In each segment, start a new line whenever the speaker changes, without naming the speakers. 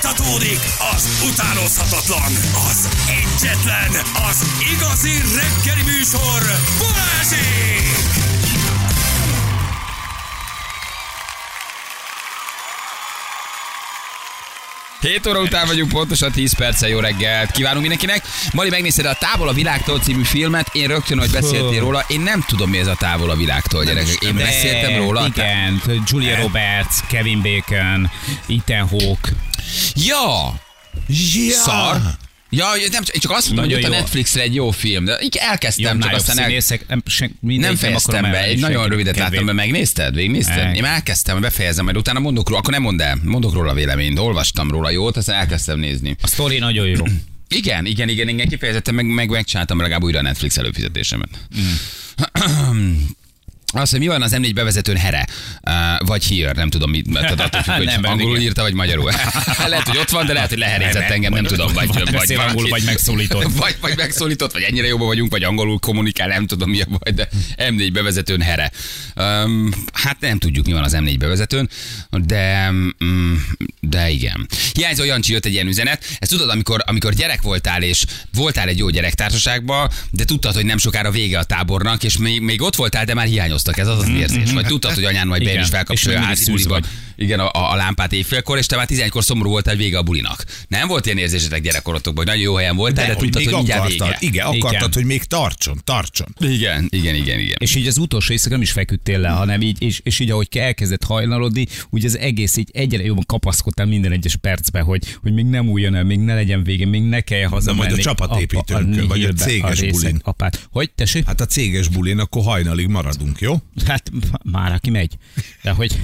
Fújtatódik az utánozhatatlan, az egyetlen, az igazi reggeli műsor, Balázsék!
Hét óra után vagyunk, pontosan 10 perccel jó reggelt. Kívánunk mindenkinek. Mali, megnézted a Távol a világtól című filmet. Én rögtön, hogy beszéltél róla, én nem tudom, mi ez a Távol a világtól, gyerekek. Én beszéltem róla.
Eh,
Eh?
Igen, Julia Roberts, Kevin Bacon, Ethan Hawke.
Ja!
Ja.
Szar! Ja, nem, én csak azt mondtam,
Ah. Nagyon
hogy ott a
jó.
Netflixre egy jó film, de így elkezdtem,
Jobb,
csak
nagyobb
aztán el,
színészek, nem, sen,
nem fejeztem be, egy nagyon rövidet láttam be,
meg.
megnézted? Végignézted?
Meg.
Én már elkezdtem, befejezem, majd utána mondok róla, akkor nem mondd el, mondok róla véleményt, olvastam róla jót, aztán elkezdtem nézni.
A sztori nagyon jó.
Igen, igen, igen, igen, kifejezetten meg, meg megcsináltam legalább újra a Netflix előfizetésemet. Mm. Azt, hogy mi van az M4 bevezetőn here, uh, vagy here, nem tudom, mit, tehát attól függ, hogy
Nem,
nem, angolul
igen.
írta, vagy magyarul. lehet, hogy ott van, de lehet, hogy leherézett
Nem,
engem, nem
vagy-
tudom, vagy,
vagy
vagy,
beszél
valaki-
angolul, vagy megszólított.
vagy, vagy megszólított, vagy ennyire jobban vagyunk, vagy angolul kommunikál, nem tudom mi a baj, de M4 bevezetőn here. Um, hát nem tudjuk, mi van az M4 bevezetőn, de, mm, de igen. Hiányzó Jancsi jött egy ilyen üzenet. Ezt tudod, amikor, amikor gyerek voltál, és voltál egy jó gyerektársaságban, de tudtad, hogy nem sokára vége a tábornak, és még, még ott voltál, de már hiányoztak. Ez az az érzés. Vagy tudtad, hogy anyán majd be
Igen.
is
És
felkapcsolja a
mindig
házi
szűz
buliban.
vagy.
Igen, a, a, a lámpát éjfélkor, és te már 11-kor szomorú voltál, hogy vége a bulinak. Nem volt ilyen érzésetek gyerekkorotokban, hogy nagyon jó helyen voltál, de, de
hogy
tudtad,
még
hogy mindjárt vége.
akartad. Igen, akartad,
Igen.
hogy még tartson, tartson.
Igen, igen, igen, igen.
És így az utolsó éjszaka nem is feküdtél le, hanem így, és, és így ahogy elkezdett hajnalodni, úgy az egész így egyre jobban kapaszkodtál minden egyes percben, hogy, hogy még nem újjon el, még ne legyen vége, még ne kelljen hazamenni.
majd a csapatépítőnkön,
Apa-
vagy a
nihilbe,
céges
részeg
bulin.
Apát. Hogy, tessék?
Hát a céges bulin, akkor hajnalig maradunk, jó?
Hát már aki megy. De hogy...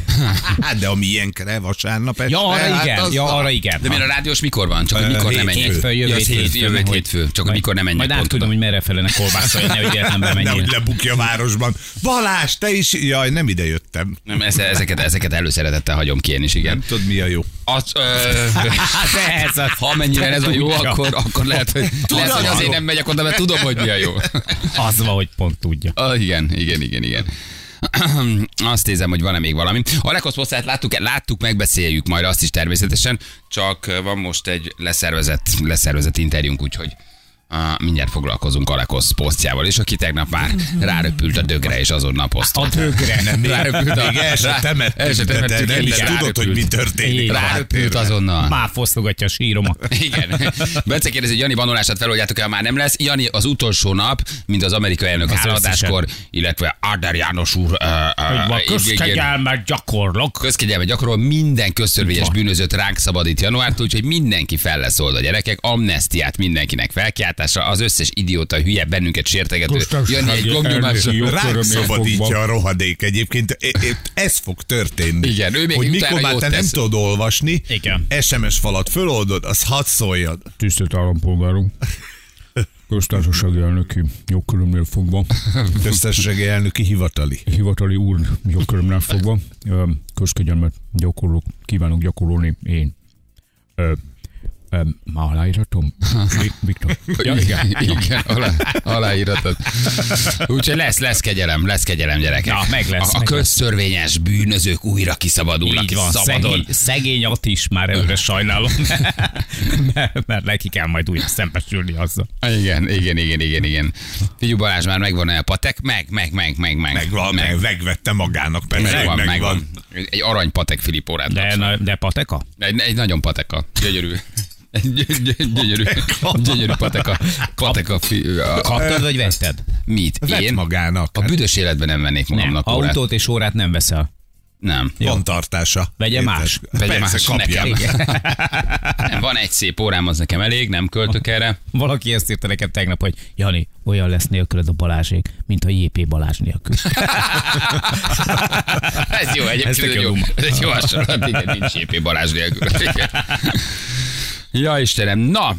Hát de a miénkre vasárnap este.
Ja, arra
hát
igen,
az-
ja, arra igen.
De miért a rádiós mikor van? Csak hogy
Ö,
mikor nem
hétfő.
menjek.
Hétfő, jövő
Ja, az hét-
hétfőn,
jövő
hogy-
hétfő. Csak hogy
Majd-
mikor nem menjek.
Majd át
pont
tudom,
oda.
hogy merre felelne kolbászolni, nehogy véletlen bemenjél.
Nehogy lebukja a városban. Balázs, te is, jaj, nem ide jöttem.
Nem, eze- ezeket, ezeket előszeretettel hagyom ki én is, igen.
Nem tudod, mi a jó.
Az, ö,
Hát ez az.
ha mennyire ez a jó,
Tudja.
akkor, akkor lehet, hogy, lehet, hogy azért nem megyek oda, mert tudom, hogy mi a jó.
Az van, hogy pont tudja.
Ah, igen, igen, igen, igen. Azt nézem, hogy van-e még valami. A lekoszposztát láttuk, láttuk, megbeszéljük majd azt is természetesen, csak van most egy leszervezett, leszervezett interjúnk, úgyhogy ah, mindjárt foglalkozunk Alekosz posztjával, és aki tegnap már ráröpült a dögre, és azonnal
A
posztolt.
dögre.
Nem, még,
Ráröpült a-
még el se
rá- el
temettük, de te
se temettük,
nem
igen,
is
de
tudod, hogy mi
ráröpült.
történik.
Igen.
Ráröpült azonnal.
Már fosztogatja a síromat.
Igen. Bence kérdezi, hogy Jani banolását feloljátok el, már nem lesz. Jani az utolsó nap, mint az amerikai elnök
Az
álladáskor, illetve Áder János úr
Hogy
Ah,
van, közkegyelmet gyakorlok.
közkegyelme gyakorol, minden közszörvényes
Van.
bűnözőt ránk szabadít januártól, úgyhogy mindenki fel lesz oldva, gyerekek. Amnestiát mindenkinek felkiáltásra, az összes idióta, hülye, bennünket sértegető. Jani egy gombnyomásra.
Ránk szabadítja a rohadék egyébként. É- é- Ez fog történni.
Igen, ő még
hogy
utána
mikor már
jót
te nem
tesz.
tudod olvasni,
Igen.
SMS falat föloldod, az hadd szóljon.
Tisztelt állampolgárunk. Köztársasági elnöki jogkörömnél fogva,
Köztársasági elnöki hivatali.
hivatali úr jogkörömnél fogva, közkegyelmet gyakorlok, kívánok gyakorolni én. Már aláírhatom? Viktor.
Ja, igen, igen alá, aláíratod. Úgyhogy lesz, lesz kegyelem, lesz kegyelem, gyerekek.
Na, meg lesz,
A, a
meg lesz.
közszörvényes bűnözők újra kiszabadulnak,
Így
és
van,
szabadon.
szegény, szegény Ati is már előre sajnálom, mert, mert neki kell majd újra szembesülni azzal.
Igen, igen, igen, igen, igen. Figyú Balázs, már megvan-e a patek? Meg, meg, meg, meg, meg.
Megvan, meg, megvette magának, persze.
megvan, megvan. Egy arany patek Filip órát.
De, na, de Pateka?
Egy, egy nagyon pateka. Gyönyörű. Egy gy- gy- gyönyörű, gyönyörű pateka. pateka fi, a, a,
Kaptad vagy vetted?
mit?
Vett
Én?
magának.
A büdös életben nem vennék
Nem,
magamnak órát.
autót és órát nem veszel.
Nem.
Van tartása.
Vegye
Érted?
más.
Vegye
Persze,
más,
kapja.
nekem. Nem, van egy szép órám, az nekem elég, nem költök erre.
Valaki ezt írta nekem tegnap, hogy Jani, olyan lesz nélküled a Balázsék, mint a JP Balázs nélkül.
Ez jó,
Ez
egyébként
tök
ez
jó
jó,
duma.
ez egy jó hasonlat, igen, nincs Épé Balázs nélkül. Igen. Ja, Istenem, na,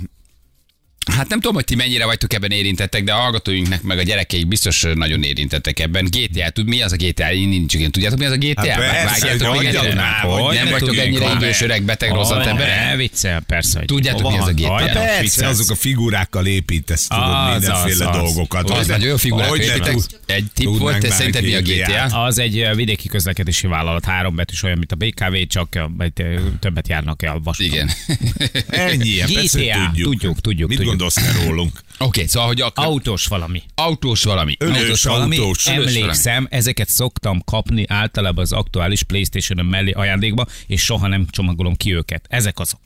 Hát nem tudom, hogy ti mennyire vagytok ebben érintettek, de a hallgatóinknak meg a gyerekeik biztos nagyon érintettek ebben. GTA, tud mi az a GTA? Én nincs igen. Tudjátok mi az a GTA?
Hát persze,
Már vágjátok
hogy
még
hogyan,
egyre?
hát
Hogy
hogy
nem
ne
vagytok
tudjuk
ennyire
már.
idős, öreg, beteg, rosszant
Ne
emberek?
viccel, persze. Hogy
Tudjátok,
hova
mi az a
van?
GTA?
Hajrá,
Persze,
Persze,
viccelsz.
azok a figurákkal építesz, tudod,
Az, az,
mindenféle
az.
dolgokat.
Az
Hogy-
nagyon jó figurák,
hogy ne
értitek?
tud-
Egy tipp
tudnánk
volt, te
már
szerinted mi a GTA?
Az egy ö, vidéki közlekedési vállalat, három betűs olyan, mint a BKV, csak ö, egy, ö, többet járnak el a vasúton.
Igen.
Ennyi, ilyen, persze
GTA,
tudjuk.
tudjuk, tudjuk,
Mit
tudjuk.
gondolsz te rólunk?
Oké, szóval, hogy akkor
Autós valami.
autós valami.
Önös
valami.
autós.
Önös valami.
Emlékszem, ezeket szoktam kapni általában az aktuális playstation mellé ajándékba, és soha nem csomagolom ki őket. Ezek azok.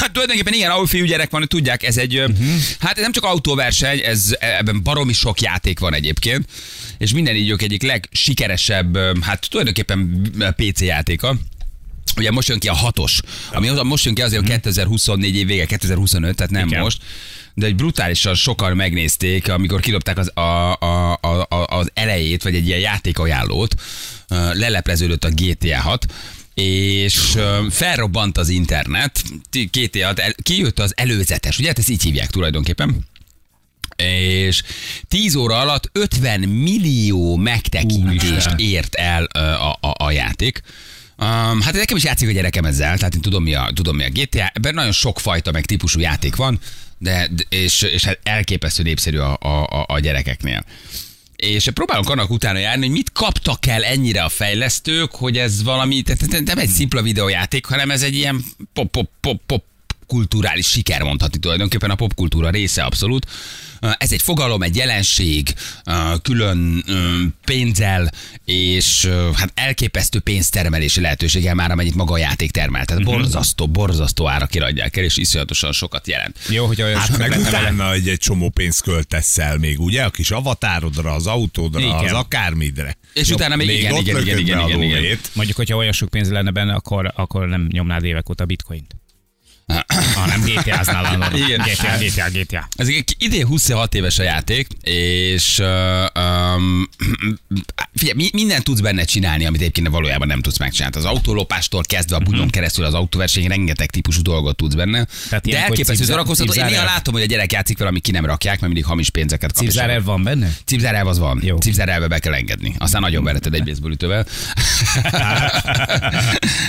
Hát tulajdonképpen igen, ahol fiúgyerek van, tudják, ez egy, uh-huh. hát ez nem csak autóverseny, ez ebben baromi sok játék van egyébként, és minden idők egyik legsikeresebb, ö, hát tulajdonképpen PC játéka. Ugye most jön ki a hatos, ami az- most jön ki azért, hogy 2024 év vége, 2025, tehát nem
Igen.
most, de egy brutálisan sokan megnézték, amikor kidobták az, a, a, a, a, az elejét, vagy egy ilyen játékajánlót, ö, lelepleződött a GTA 6, és ö, felrobbant az internet, Ti- GTA 6, el- kijött az előzetes, ugye hát ezt így hívják tulajdonképpen, és 10 óra alatt 50 millió megtekintést ért el ö, a, a, a játék. Um, hát nekem is játszik a gyerekem ezzel, tehát én tudom mi a, tudom mi a GTA, ebben nagyon sok fajta meg típusú játék van, de, de- és, és hát elképesztő népszerű a, a, a- a gyerekeknél. És próbálunk annak utána járni, hogy mit kaptak el ennyire a fejlesztők, hogy ez valami, tehát tehát nem egy szimpla videójáték, hanem ez egy ilyen pop, pop, pop, pop kulturális siker mondhatni tulajdonképpen, a popkultúra része abszolút. Ez egy fogalom, egy jelenség, külön ö, pénzzel, és ö, hát elképesztő pénztermelési lehetőséggel már, amennyit maga a játék termel. Tehát borzasztó, borzasztó ára kiradják el, és iszonyatosan sokat jelent.
Jó, hogy olyan
Hát
sokat
meg
vettem vele.
utána egy, egy csomó pénzt költesz el még, ugye? A kis avatárodra, az autódra,
Igen.
az akármidre.
És utána még igen,
ott
igen,
lököd
igen, igen,
be a
igen, igen.
lóvét.
Mondjuk, hogyha olyan sok pénz lenne benne, akkor, akkor nem nyomnád évek óta bitcoint. Hanem GTA-znál állod.
Igen.
GTA, GTA, GTA.
Ez egy- idén 26 éves a játék, és uh, um, figyelj, mi, mindent tudsz benne csinálni, amit egyébként valójában nem tudsz megcsinálni. Hát Az autólopástól kezdve a bugyon keresztül az autóverseny, rengeteg típusú dolgot tudsz benne. Tehát De
ilyenkor
elképesztő
cipzár-
szórakoztató. Én néha
cipzárel?
látom, hogy a gyerek játszik vele, ami ki nem rakják, mert mindig hamis pénzeket kap. és
Cipzárel van benne?
Cipzárelv az van. Jó.
Jó.
Cipzárelve be kell engedni. Aztán nagyon vereted egy baseballütővel.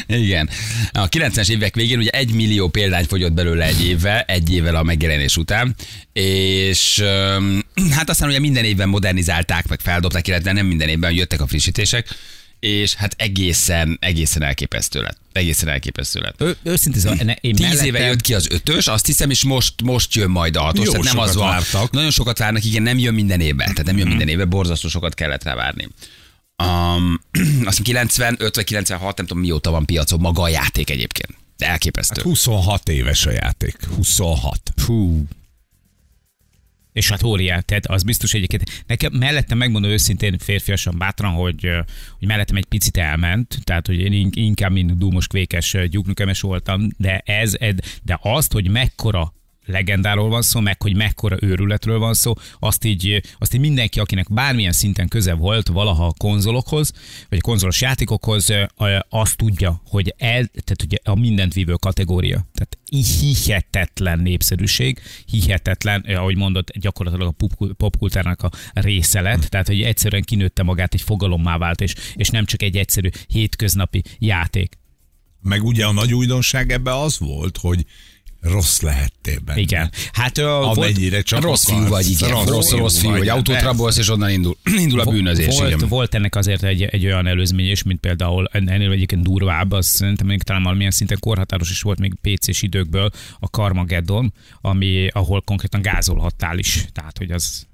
Igen. A 90-es évek végén ugye egy millió példány fogyott belőle egy évvel, egy évvel a megjelenés után, és öm, hát aztán ugye minden évben modernizálták, meg feldobták, illetve nem minden évben jöttek a frissítések, és hát egészen, egészen elképesztő lett. Egészen elképesztő lett.
Ő, őszintén szóval, ne- én
Tíz
mellettem-
éve jött ki az ötös, azt hiszem, és most, most jön majd a hatos.
Jó
tehát nem az
sokat
van.
vártak.
Nagyon sokat várnak, igen, nem jön minden évben. Tehát nem jön minden évben, borzasztó sokat kellett rá várni. Um, azt hiszem 95 vagy 96, nem tudom mióta van piacon maga a játék egyébként. De elképesztő.
26 éves a játék. 26.
Fú. És hát óriás, tehát az biztos egyébként. Nekem mellettem megmondom őszintén férfiasan bátran, hogy, ö, hogy mellettem egy picit elment, tehát hogy én in- inkább mint dúmos kvékes ö, gyúknükemes voltam, de ez, ed- de azt, hogy mekkora legendáról van szó, meg hogy mekkora őrületről van szó, azt így, ö, azt így mindenki, akinek bármilyen szinten köze volt valaha a konzolokhoz, vagy a konzolos játékokhoz, ö, ö, azt tudja, hogy el, tehát ugye a mindent vívő kategória. Tehát így hihetetlen népszerűség, hihetetlen, eh, ahogy mondod, gyakorlatilag a pop- popkultúrának a része lett,
Hm.
tehát hogy egyszerűen kinőtte magát, egy fogalommá vált, és, és nem csak egy egyszerű hétköznapi játék.
Meg ugye a nagy újdonság ebbe az volt, hogy rossz lehettél benne.
Igen. Hát ö, volt,
Amennyire csak
Rossz fiú
akarsz.
vagy, igen. Rossz, rossz, fiú vagy. Autót
Persze.
rabolsz, és onnan indul, indul a bűnözés.
Volt,
igen.
volt ennek azért egy, egy olyan előzmény is, mint például ennél egyébként durvább, az szerintem még talán valamilyen szinten korhatáros is volt még PC-s időkből a Carmageddon, ami, ahol konkrétan gázolhattál is. Tehát, hogy az...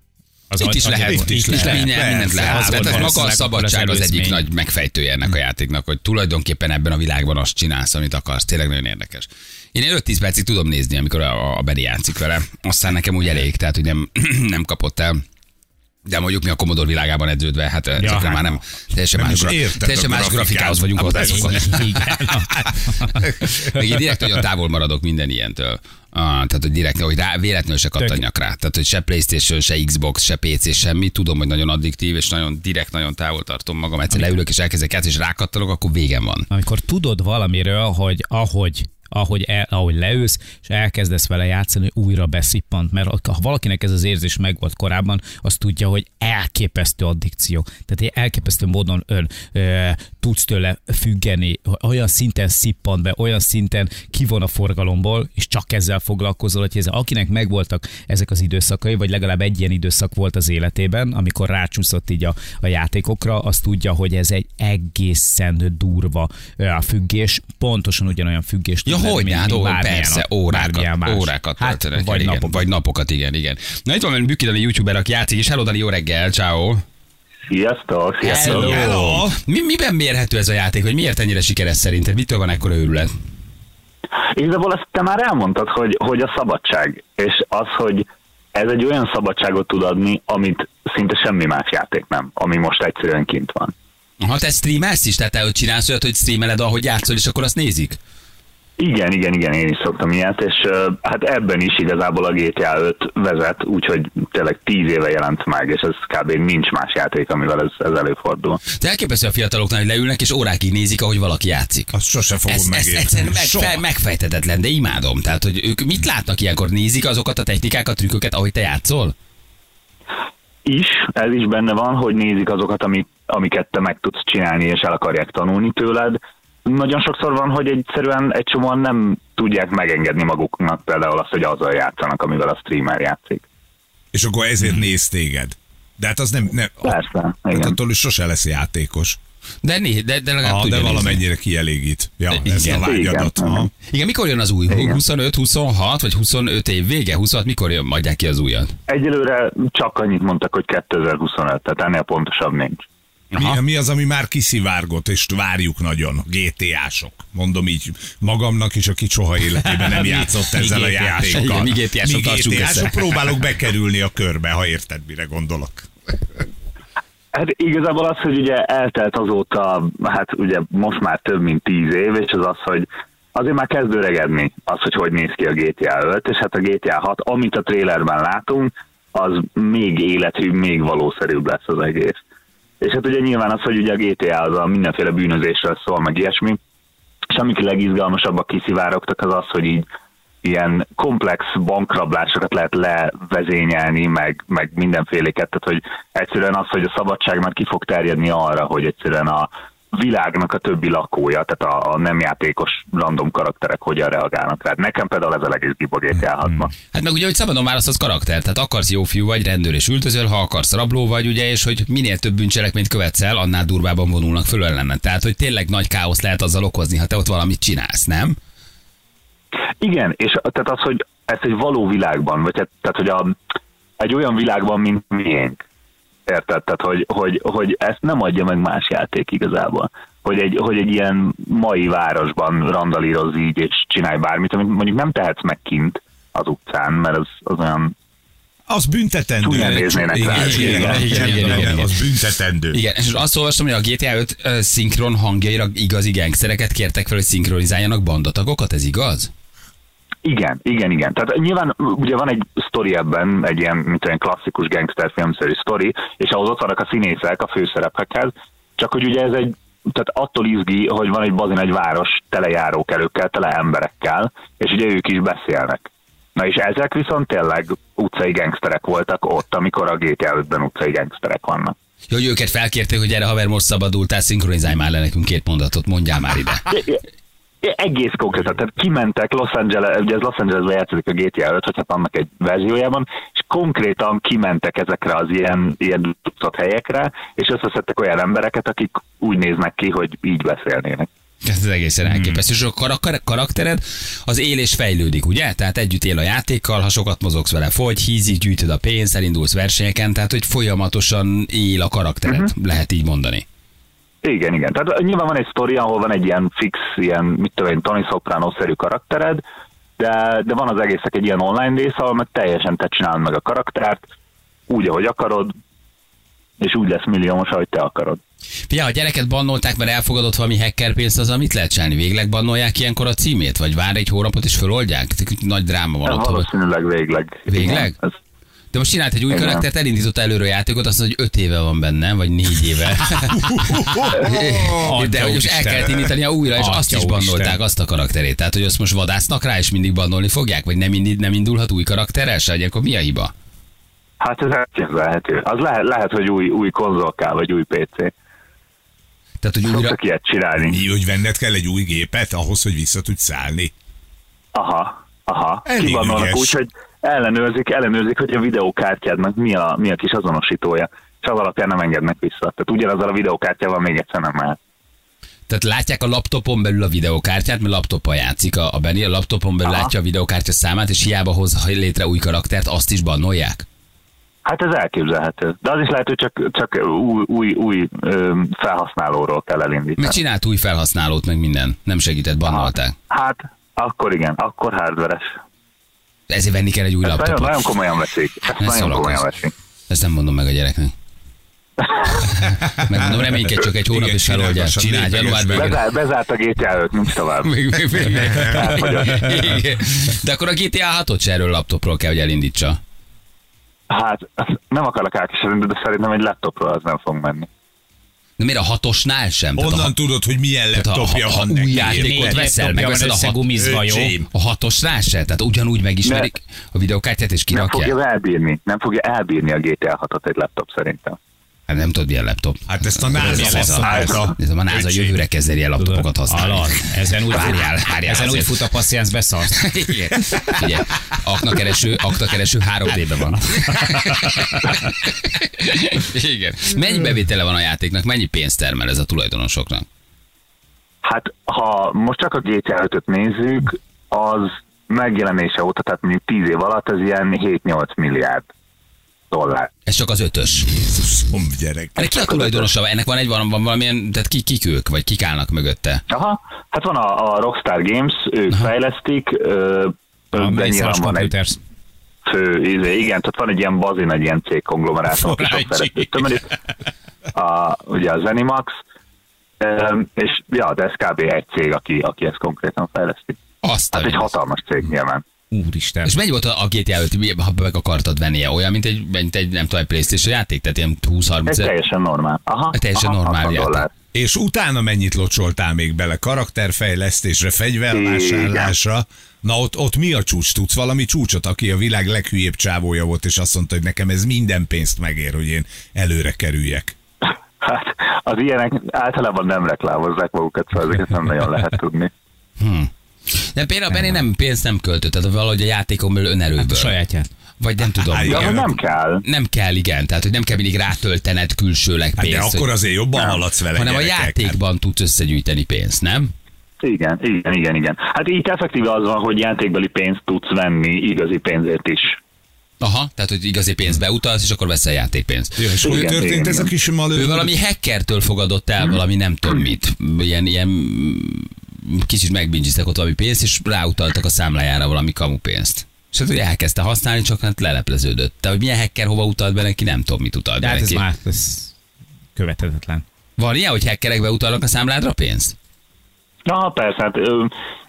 az
Itt is
az-
lehet,
itt
itt is
is
lehet,
lehet,
minden,
persze,
mindent lehet. Hát,
az
Tehát
volt
ez maga a
valószínűleg
szabadság
akkor
az
az
egyik
előzmény.
nagy megfejtője ennek a játéknak, hogy tulajdonképpen ebben a világban azt csinálsz, amit akarsz. Tényleg nagyon érdekes. Én ilyen 5-10 percig tudom nézni, amikor a, a Beri játszik vele. Aztán nekem úgy elég, tehát hogy nem, nem kapott el. De mondjuk mi a Commodore világában edződve, hát ja, ezekre
hát.
már nem, teljesen
Nem
más,
is
gra-
érted
teljesen
a
más
grafikát.
grafikához vagyunk
Hát
hozzászokva.
Igen.
Még én direkt nagyon távol maradok minden ilyentől. Ah, tehát, hogy direkt, hogy rá, véletlenül se kattanjak rá. Tehát, hogy se Playstation, se Xbox, se PC, semmi. Tudom, hogy nagyon addiktív, és nagyon direkt, nagyon távol tartom magam. Egyszer leülök, és elkezdek játszani, és rákattanok, akkor végem van.
Amikor tudod valamiről, hogy ahogy ahogy, el, ahogy leülsz, és elkezdesz vele játszani, újra beszippant, mert ha valakinek ez az érzés megvolt korábban, az tudja, hogy elképesztő addikció. Tehát egy elképesztő módon ön ö, tudsz tőle függeni, olyan szinten szippant be, olyan szinten kivon a forgalomból, és csak ezzel foglalkozol, hogy ez, akinek megvoltak ezek az időszakai, vagy legalább egy ilyen időszak volt az életében, amikor rácsúszott így a, a játékokra, az tudja, hogy ez egy egészen durva ö, a függés, pontosan ugyanolyan függés
Ja,
tud lenni,
hogy
mint-
hát,
mint
ó,
bármilyen
persze,
nap- bármilyen
órákat,
más.
órákat
hát,
töltenek el,
vagy
igen,
napok.
vagy napokat, igen, igen. Na itt van velünk Büki Dani youtuber, aki játszik, és hello Dani, jó reggel, ciao.
Sziasztok!
Hello. hello. Mi, miben mérhető ez a játék, hogy miért ennyire sikeres szerinted? Mitől van ekkora őrület?
Igazából azt te már elmondtad, hogy, hogy a szabadság, és az, hogy ez egy olyan szabadságot tud adni, amit szinte semmi más játék nem, ami most egyszerűen kint van.
Ha te streamelsz is, tehát te hogy csinálsz olyat, hogy streameled, ahogy játszol, és akkor azt nézik?
Igen, igen, igen, én is szoktam ilyet, és ö, hát ebben is igazából a GTA 5 vezet, úgyhogy tényleg 10 éve jelent meg, és ez kb. nincs más játék, amivel ez, ez előfordul.
Te elképesztő a fiataloknál, hogy leülnek, és órákig nézik, ahogy valaki játszik.
Azt sose fogom
Ez, ez
megérteni.
egyszerűen megfe,
Soha.
megfejtetetlen, de imádom. Tehát, hogy ők mit látnak ilyenkor? Nézik azokat a technikákat, trükköket, ahogy te játszol?
is, ez is benne van, hogy nézik azokat, ami, amiket te meg tudsz csinálni, és el akarják tanulni tőled. Nagyon sokszor van, hogy egyszerűen egy csomóan nem tudják megengedni maguknak például azt, hogy azzal játszanak, amivel a streamer játszik.
És akkor ezért néz téged. De hát az nem... nem
Persze,
hát
igen.
attól is sose lesz játékos.
De, né, de, de legalább
Ah,
tudja
de
nézni.
valamennyire kielégít. Ja, ez
Hát Igen.
a vágyadat.
Igen.
Aha.
Igen, mikor jön az új?
Igen.
25, 26 vagy 25 év vége? 26, mikor jön, adják ki az újat?
Egyelőre csak annyit mondtak, hogy 2025, tehát ennél pontosabb nincs.
Mi, mi az, ami már kiszivárgott, és várjuk nagyon? GTA-sok. Mondom így magamnak is, aki soha életében nem játszott
Mi
ezzel a
GTA-sok?
játékkal.
Igen, mi GTA-sok,
Mi
tartsuk
GTA-sok,
össze.
próbálok bekerülni a körbe, ha érted, mire gondolok.
Hát igazából az, hogy ugye eltelt azóta, hát ugye most már több mint tíz év, és az az, hogy azért már kezd öregedni az, hogy hogy néz ki a GTA 5, és hát a GTA 6, amit a trailerben látunk, az még életű, még valószerűbb lesz az egész. És hát ugye nyilván az, hogy ugye a GTA az a mindenféle bűnözésről szól, meg ilyesmi, és amik legizgalmasabbak kiszivárogtak, az az, hogy így ilyen komplex bankrablásokat lehet levezényelni, meg, meg mindenféléket, tehát hogy egyszerűen az, hogy a szabadság már ki fog terjedni arra, hogy egyszerűen a világnak a többi lakója, tehát a, a nem játékos random karakterek hogyan reagálnak rá. Nekem például ez a legész gibogétjál hatma.
Hát meg ugye, hogy szabadon választasz karakter, tehát akarsz jó fiú vagy, rendőr és üldözöl, ha akarsz rabló vagy, ugye, és hogy minél több bűncselekményt követsz el, annál durvábban vonulnak föl ellened. Tehát, hogy tényleg nagy káoszt lehet azzal okozni, ha te ott valamit csinálsz, nem?
Igen, és a- tehát az, hogy ezt egy való világban, vagy hát- tehát, hogy a, egy olyan világban, mint miénk. Érted? Tehát, hogy, hogy, hogy ezt nem adja meg más játék igazából. Hogy egy, hogy egy ilyen mai városban randalírozz így, és csinálj bármit, amit mondjuk nem tehetsz meg kint az utcsán, mert az, az olyan...
Az büntetendő.
Csúnyán néznének
igen,
rá.
igen,
Igen,
igen,
igen,
igen,
igen, igen.
az büntetendő.
Igen, és azt olvastam, hogy a GTA 5 ö, szinkron hangjaira igazi gengszereket kértek fel, hogy szinkronizáljanak bandatagokat, ez igaz?
Igen, igen, igen. Tehát nyilván ugye van egy sztori ebben, egy ilyen, mint olyan klasszikus gangster filmszerű sztori, és ahhoz ott vannak a színészek a főszerepekhez, csak hogy ugye ez egy, tehát attól izgi, hogy van egy bazin egy város tele járókelőkkel, tele emberekkel, és ugye ők is beszélnek. Na és ezek viszont tényleg utcai gangsterek voltak ott, amikor a GTA 5-ben utcai gangsterek vannak.
Jó, hogy őket felkérték, hogy erre haver most szabadultál, szinkronizálj már le nekünk két mondatot, mondjál már ide.
egész konkrétan, tehát kimentek Los Angeles, ugye ez Los Angelesbe játszik a GTA 5, vagy hát annak egy verziójában, és konkrétan kimentek ezekre az ilyen, ilyen tucat helyekre, és összeszedtek olyan embereket, akik úgy néznek ki, hogy így beszélnének.
Ez az egészen elképesztő. És a karak- karaktered az él és fejlődik, ugye? Tehát együtt él a játékkal, ha sokat mozogsz vele, fogy, hízik, gyűjtöd a pénzt, elindulsz versenyeken, tehát hogy folyamatosan él a karaktered, uh-huh. lehet így mondani.
Igen, igen. Tehát nyilván van egy sztori, ahol van egy ilyen fix, ilyen, mit tudom én, Tony Soprano-szerű karaktered, de, de van az egésznek egy ilyen online része, ahol meg teljesen te csinálod meg a karaktert, úgy, ahogy akarod, és úgy lesz milliómos, ahogy te akarod.
Figyelj, ha a gyereket bannolták, mert elfogadott valami hacker pénzt, az amit lehet csinálni? Végleg bannolják ilyenkor a címét? Vagy vár egy hónapot és föloldják? Nagy dráma van
Ez
ott. hogy-
valószínűleg végleg.
Végleg?
Igen, ez
De most csinált egy új
Igen.
karaktert, elindított előről játékot, azt mondja, hogy öt éve van benne, vagy négy éve.
Atya
De hogy most el
Úristen.
kellett indítania újra, és
Atya
azt is
Úristen.
bannolták, azt a karakterét. Tehát, hogy azt most vadásznak rá, és mindig bannolni fogják, vagy nem, indi, nem indulhat új karakterrel se, hogy akkor mi a hiba?
Hát ez elképzelhető. Az lehet, lehet hogy új, új konzol kell, vagy új PC.
Tehát, hogy újra...
Szoktak ilyet csinálni.
Mi, hogy venned kell egy új gépet ahhoz, hogy vissza tudsz szállni?
Aha, aha.
Elég
Kivannolnak
ügyes.
úgy, hogy ellenőrzik, ellenőrzik, hogy a videókártyádnak mi a, mi a kis azonosítója. És az alapján nem engednek vissza. Tehát ugyanazzal a videókártyával még egyszer nem mehet.
Tehát látják a laptopon belül a videokártyát, mert laptoppal játszik a, a Benny, a laptopon belül Aha.
Aha.
látja a videokártya számát, és hiába hoz létre új karaktert, azt is bannolják.
Hát ez elképzelhető. De az is lehet, hogy csak, csak új, új, új ö, felhasználóról kell elindítani.
Mert csinált új felhasználót, meg minden. Nem segített, bannolták.
Hát, akkor igen, akkor hardveres.
Ezért venni kell egy új
Ezt Hát nagyon, nagyon
laptopot.
komolyan veszik. Ezt
Ne
nagyon komolyan
szórakozz.
veszik.
Ezt nem mondom meg a gyereknek. Megmondom, reménykedj csak egy hónap
Igen,
is
csináld
feloldják.
lassan,
Csinálj,
légy
január
beges-
végén.
Bezár, bezárt a GTA 5, nincs tovább.
Még, még, még, még.
Elfogyott.
Igen. De akkor a GTA 6-ot se erről laptopról kell, hogy elindítsa.
Hát, nem akarok elkeserülni, de szerintem egy laptopról az nem fog menni.
De miért a hatosnál sem? Tehát a
Onnan
hat-
tudod, hogy milyen
ha-
laptopja
ha
van
új
neki.
játék-
érted?
Ott veszel,
meg
megveszed
van
a hat-
összegumizva, jó?
Öcsém.
A hatosnál se? Tehát ugyanúgy megismerik a videokártyát és
Nem
kirakják?
fogja elbírni, nem fogja elbírni a GTA 6-ot egy laptop szerintem.
Hát nem tudod, milyen laptop.
Hát ezt a NASA
ez, ez, a, ez,
használta.
ez a NASA
Öcsém.
jövőre kezd el ilyen laptopokat használni.
Alad. Ezen úgy,
Várjál, várjál
ezen úgy
azért.
fut a passziánsz beszarsz.
Igen. Ugye, aknakereső, aknakereső 3D-ben van. Igen. Mennyi bevétele van a játéknak, mennyi pénzt termel ez a tulajdonosoknak?
Hát, ha most csak a GTA 5-öt nézzük, az megjelenése óta, tehát mondjuk 10 év alatt, ez ilyen 7-8 milliárd dollár.
Ez csak az ötös.
Jézusom, gyerek.
De ki a tulajdonosa? Ennek van egy van, van valamilyen, tehát ki, kik ők, vagy kik állnak mögötte?
Aha, hát van a, a Rockstar Games, ők Aha. fejlesztik, ö,
A
de nyilván
Mészáros
van egy
Computers.
fő, izé, igen, tehát van egy ilyen bazin, egy ilyen cégkonglomerátum, aki sok
Forágyi.
szeretőt tömörít. A, ugye a Zenimax, Öm, és ja, de ez kb. egy cég, aki, aki ezt konkrétan fejleszti.
Azt
Hát
a
egy hatalmas cég nyilván.
Úristen.
és mennyi volt a a GTA 5, mi- ha meg akartad vennie? Olyan, mint egy, mint egy nem tudom, egy Playstation játék? Tehát ilyen 20-30
Ez
ezer?
teljesen normál. Aha,
Egy teljesen
aha,
normál
60
játék.
dollár.
És utána mennyit locsoltál még bele? Karakterfejlesztésre, fegyvervásárlásra? Na ott, ott mi a csúcs? Tudsz valami csúcsot, aki a világ leghülyébb csávója volt, és azt mondta, hogy nekem ez minden pénzt megér, hogy én előre kerüljek.
Hát az ilyenek általában nem reklámozzák magukat, szóval ezeket nem nagyon lehet tudni.
De például Benny nem pénzt nem költött, tehát valahogy a játékon belül
Hát a
önerőből.
sajátját.
Vagy nem tudom.
Hát
De
Igen,
amúgy nem
akkor-
kell.
Nem kell, igen. Tehát, hogy nem kell mindig rátöltened külsőleg
Hát
pénzt.
de akkor
hogy,
azért jobban haladsz vele,
hanem a
gyerekek. hát-
játékban tudsz összegyűjteni pénzt, nem?
Igen, igen, igen, igen. Hát így effektíve az van, hogy játékbeli pénzt tudsz venni igazi pénzért is.
Aha, tehát, hogy igazi pénzbe utalsz, és akkor veszel játékpénzt.
Ja, és hogy
Igen,
történt
igen,
ez a
igen.
kis malő?
Ő valami hackertől fogadott el valami nem tudom mit. Ilyen, ilyen mm, kicsit megbingiztek ott valami pénzt, és ráutaltak a számlájára valami kamu pénzt. És hát ugye elkezdte használni, csak hát lelepleződött. De hogy milyen hacker hova utalt be neki, nem tudom, mit utalt
De
be
hát ez
neki.
már ez követhetetlen.
Van ilyen, hogy hackerekbe utalnak a számládra pénzt?
Na persze, hát ö,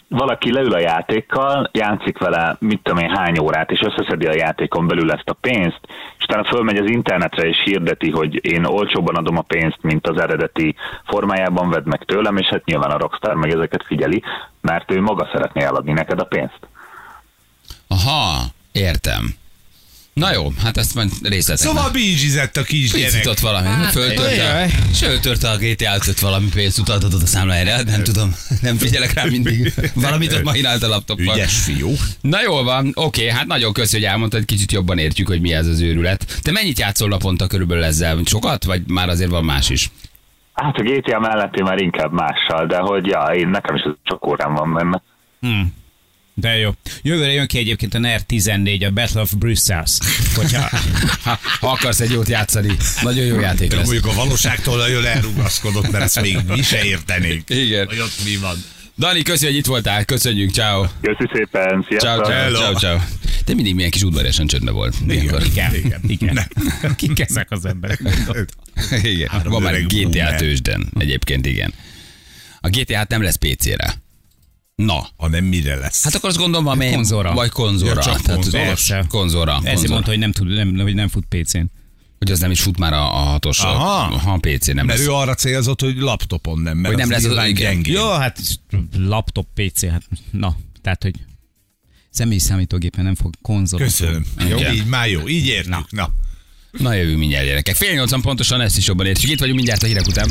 valaki leül a játékkal, játszik vele mit tudom én hány órát, és összeszedi a játékon belül ezt a pénzt, és utána fölmegy az internetre és hirdeti, hogy én olcsóban adom a pénzt, mint az eredeti formájában vedd meg tőlem, és hát nyilván a Rockstar meg ezeket figyeli, mert ő maga szeretné eladni neked a pénzt.
Aha, értem. Na jó, hát ezt majd részletekben.
Szóval bízsizett a kis gyerek.
Picit valami, hát, föltörte, és ő törte a GTA 5 valami pénzt, utat adott a számlájára, hát nem tudom, nem figyelek rá mindig. Valamit ott mahinált a laptopon.
Ügyes fiú.
Na jól van, oké, hát nagyon köszi, hogy elmondtad, kicsit jobban értjük, hogy mi ez az őrület. Te mennyit játszol naponta körülbelül ezzel? Sokat, vagy már azért van más is?
Hát a GTA mellett én már inkább mással, de hogy ja, én nekem is ez sok órám van benne.
De jó. Jövőre jön ki egyébként a NER 14, a Battle of Brussels. Hogyha
Ha, ha akarsz egy jót játszani, nagyon jó játék
De
lesz.
mondjuk a valóságtól nagyon elrugaszkodott, mert ezt még mi se értenénk.
Igen.
Hogy ott mi van.
Dani, köszi, hogy itt voltál, köszönjük, ciao.
Köszi szépen,
Ciao,
sziasztok!
ciao,
Hello.
ciao, ciao. Te mindig milyen kis udvariasan csöndben volt. Ilyenkor.
igen,
Igen.
igen, igen. Kik ezek az emberek?
Igen,
Három
ma már
öreg
GTA
boomer.
hát tőzsden, egyébként igen. A GTA -t nem lesz PC-re. Na,
hanem mire lesz.
hát akkor azt gondolom valami...
Konzora.
Vagy konzora.
Ja, csak
Tehát
konzora.
Konzora.
Persze.
konzora.
Ezért mondta, hogy nem, tud, nem, nem, hogy nem fut PC-n.
hogy az nem is fut már a, a hatos.
Aha.
Ha a PC nem
mert
lesz.
ő arra célzott, hogy laptopon nem, mert
Hogy
az
nem lesz az-
nyilván
igen.
gyengébb.
Jó, hát laptop, PC, hát na, tehát, hogy személyi számítógépen nem fog konzol.
Köszönöm. Jó,
Igen.
így már jó, így értük. Na.
Na jövő mindjárt gyerekek. Fél nyolcan pontosan ezt is jobban értjük. Itt vagyunk mindjárt a hírek után.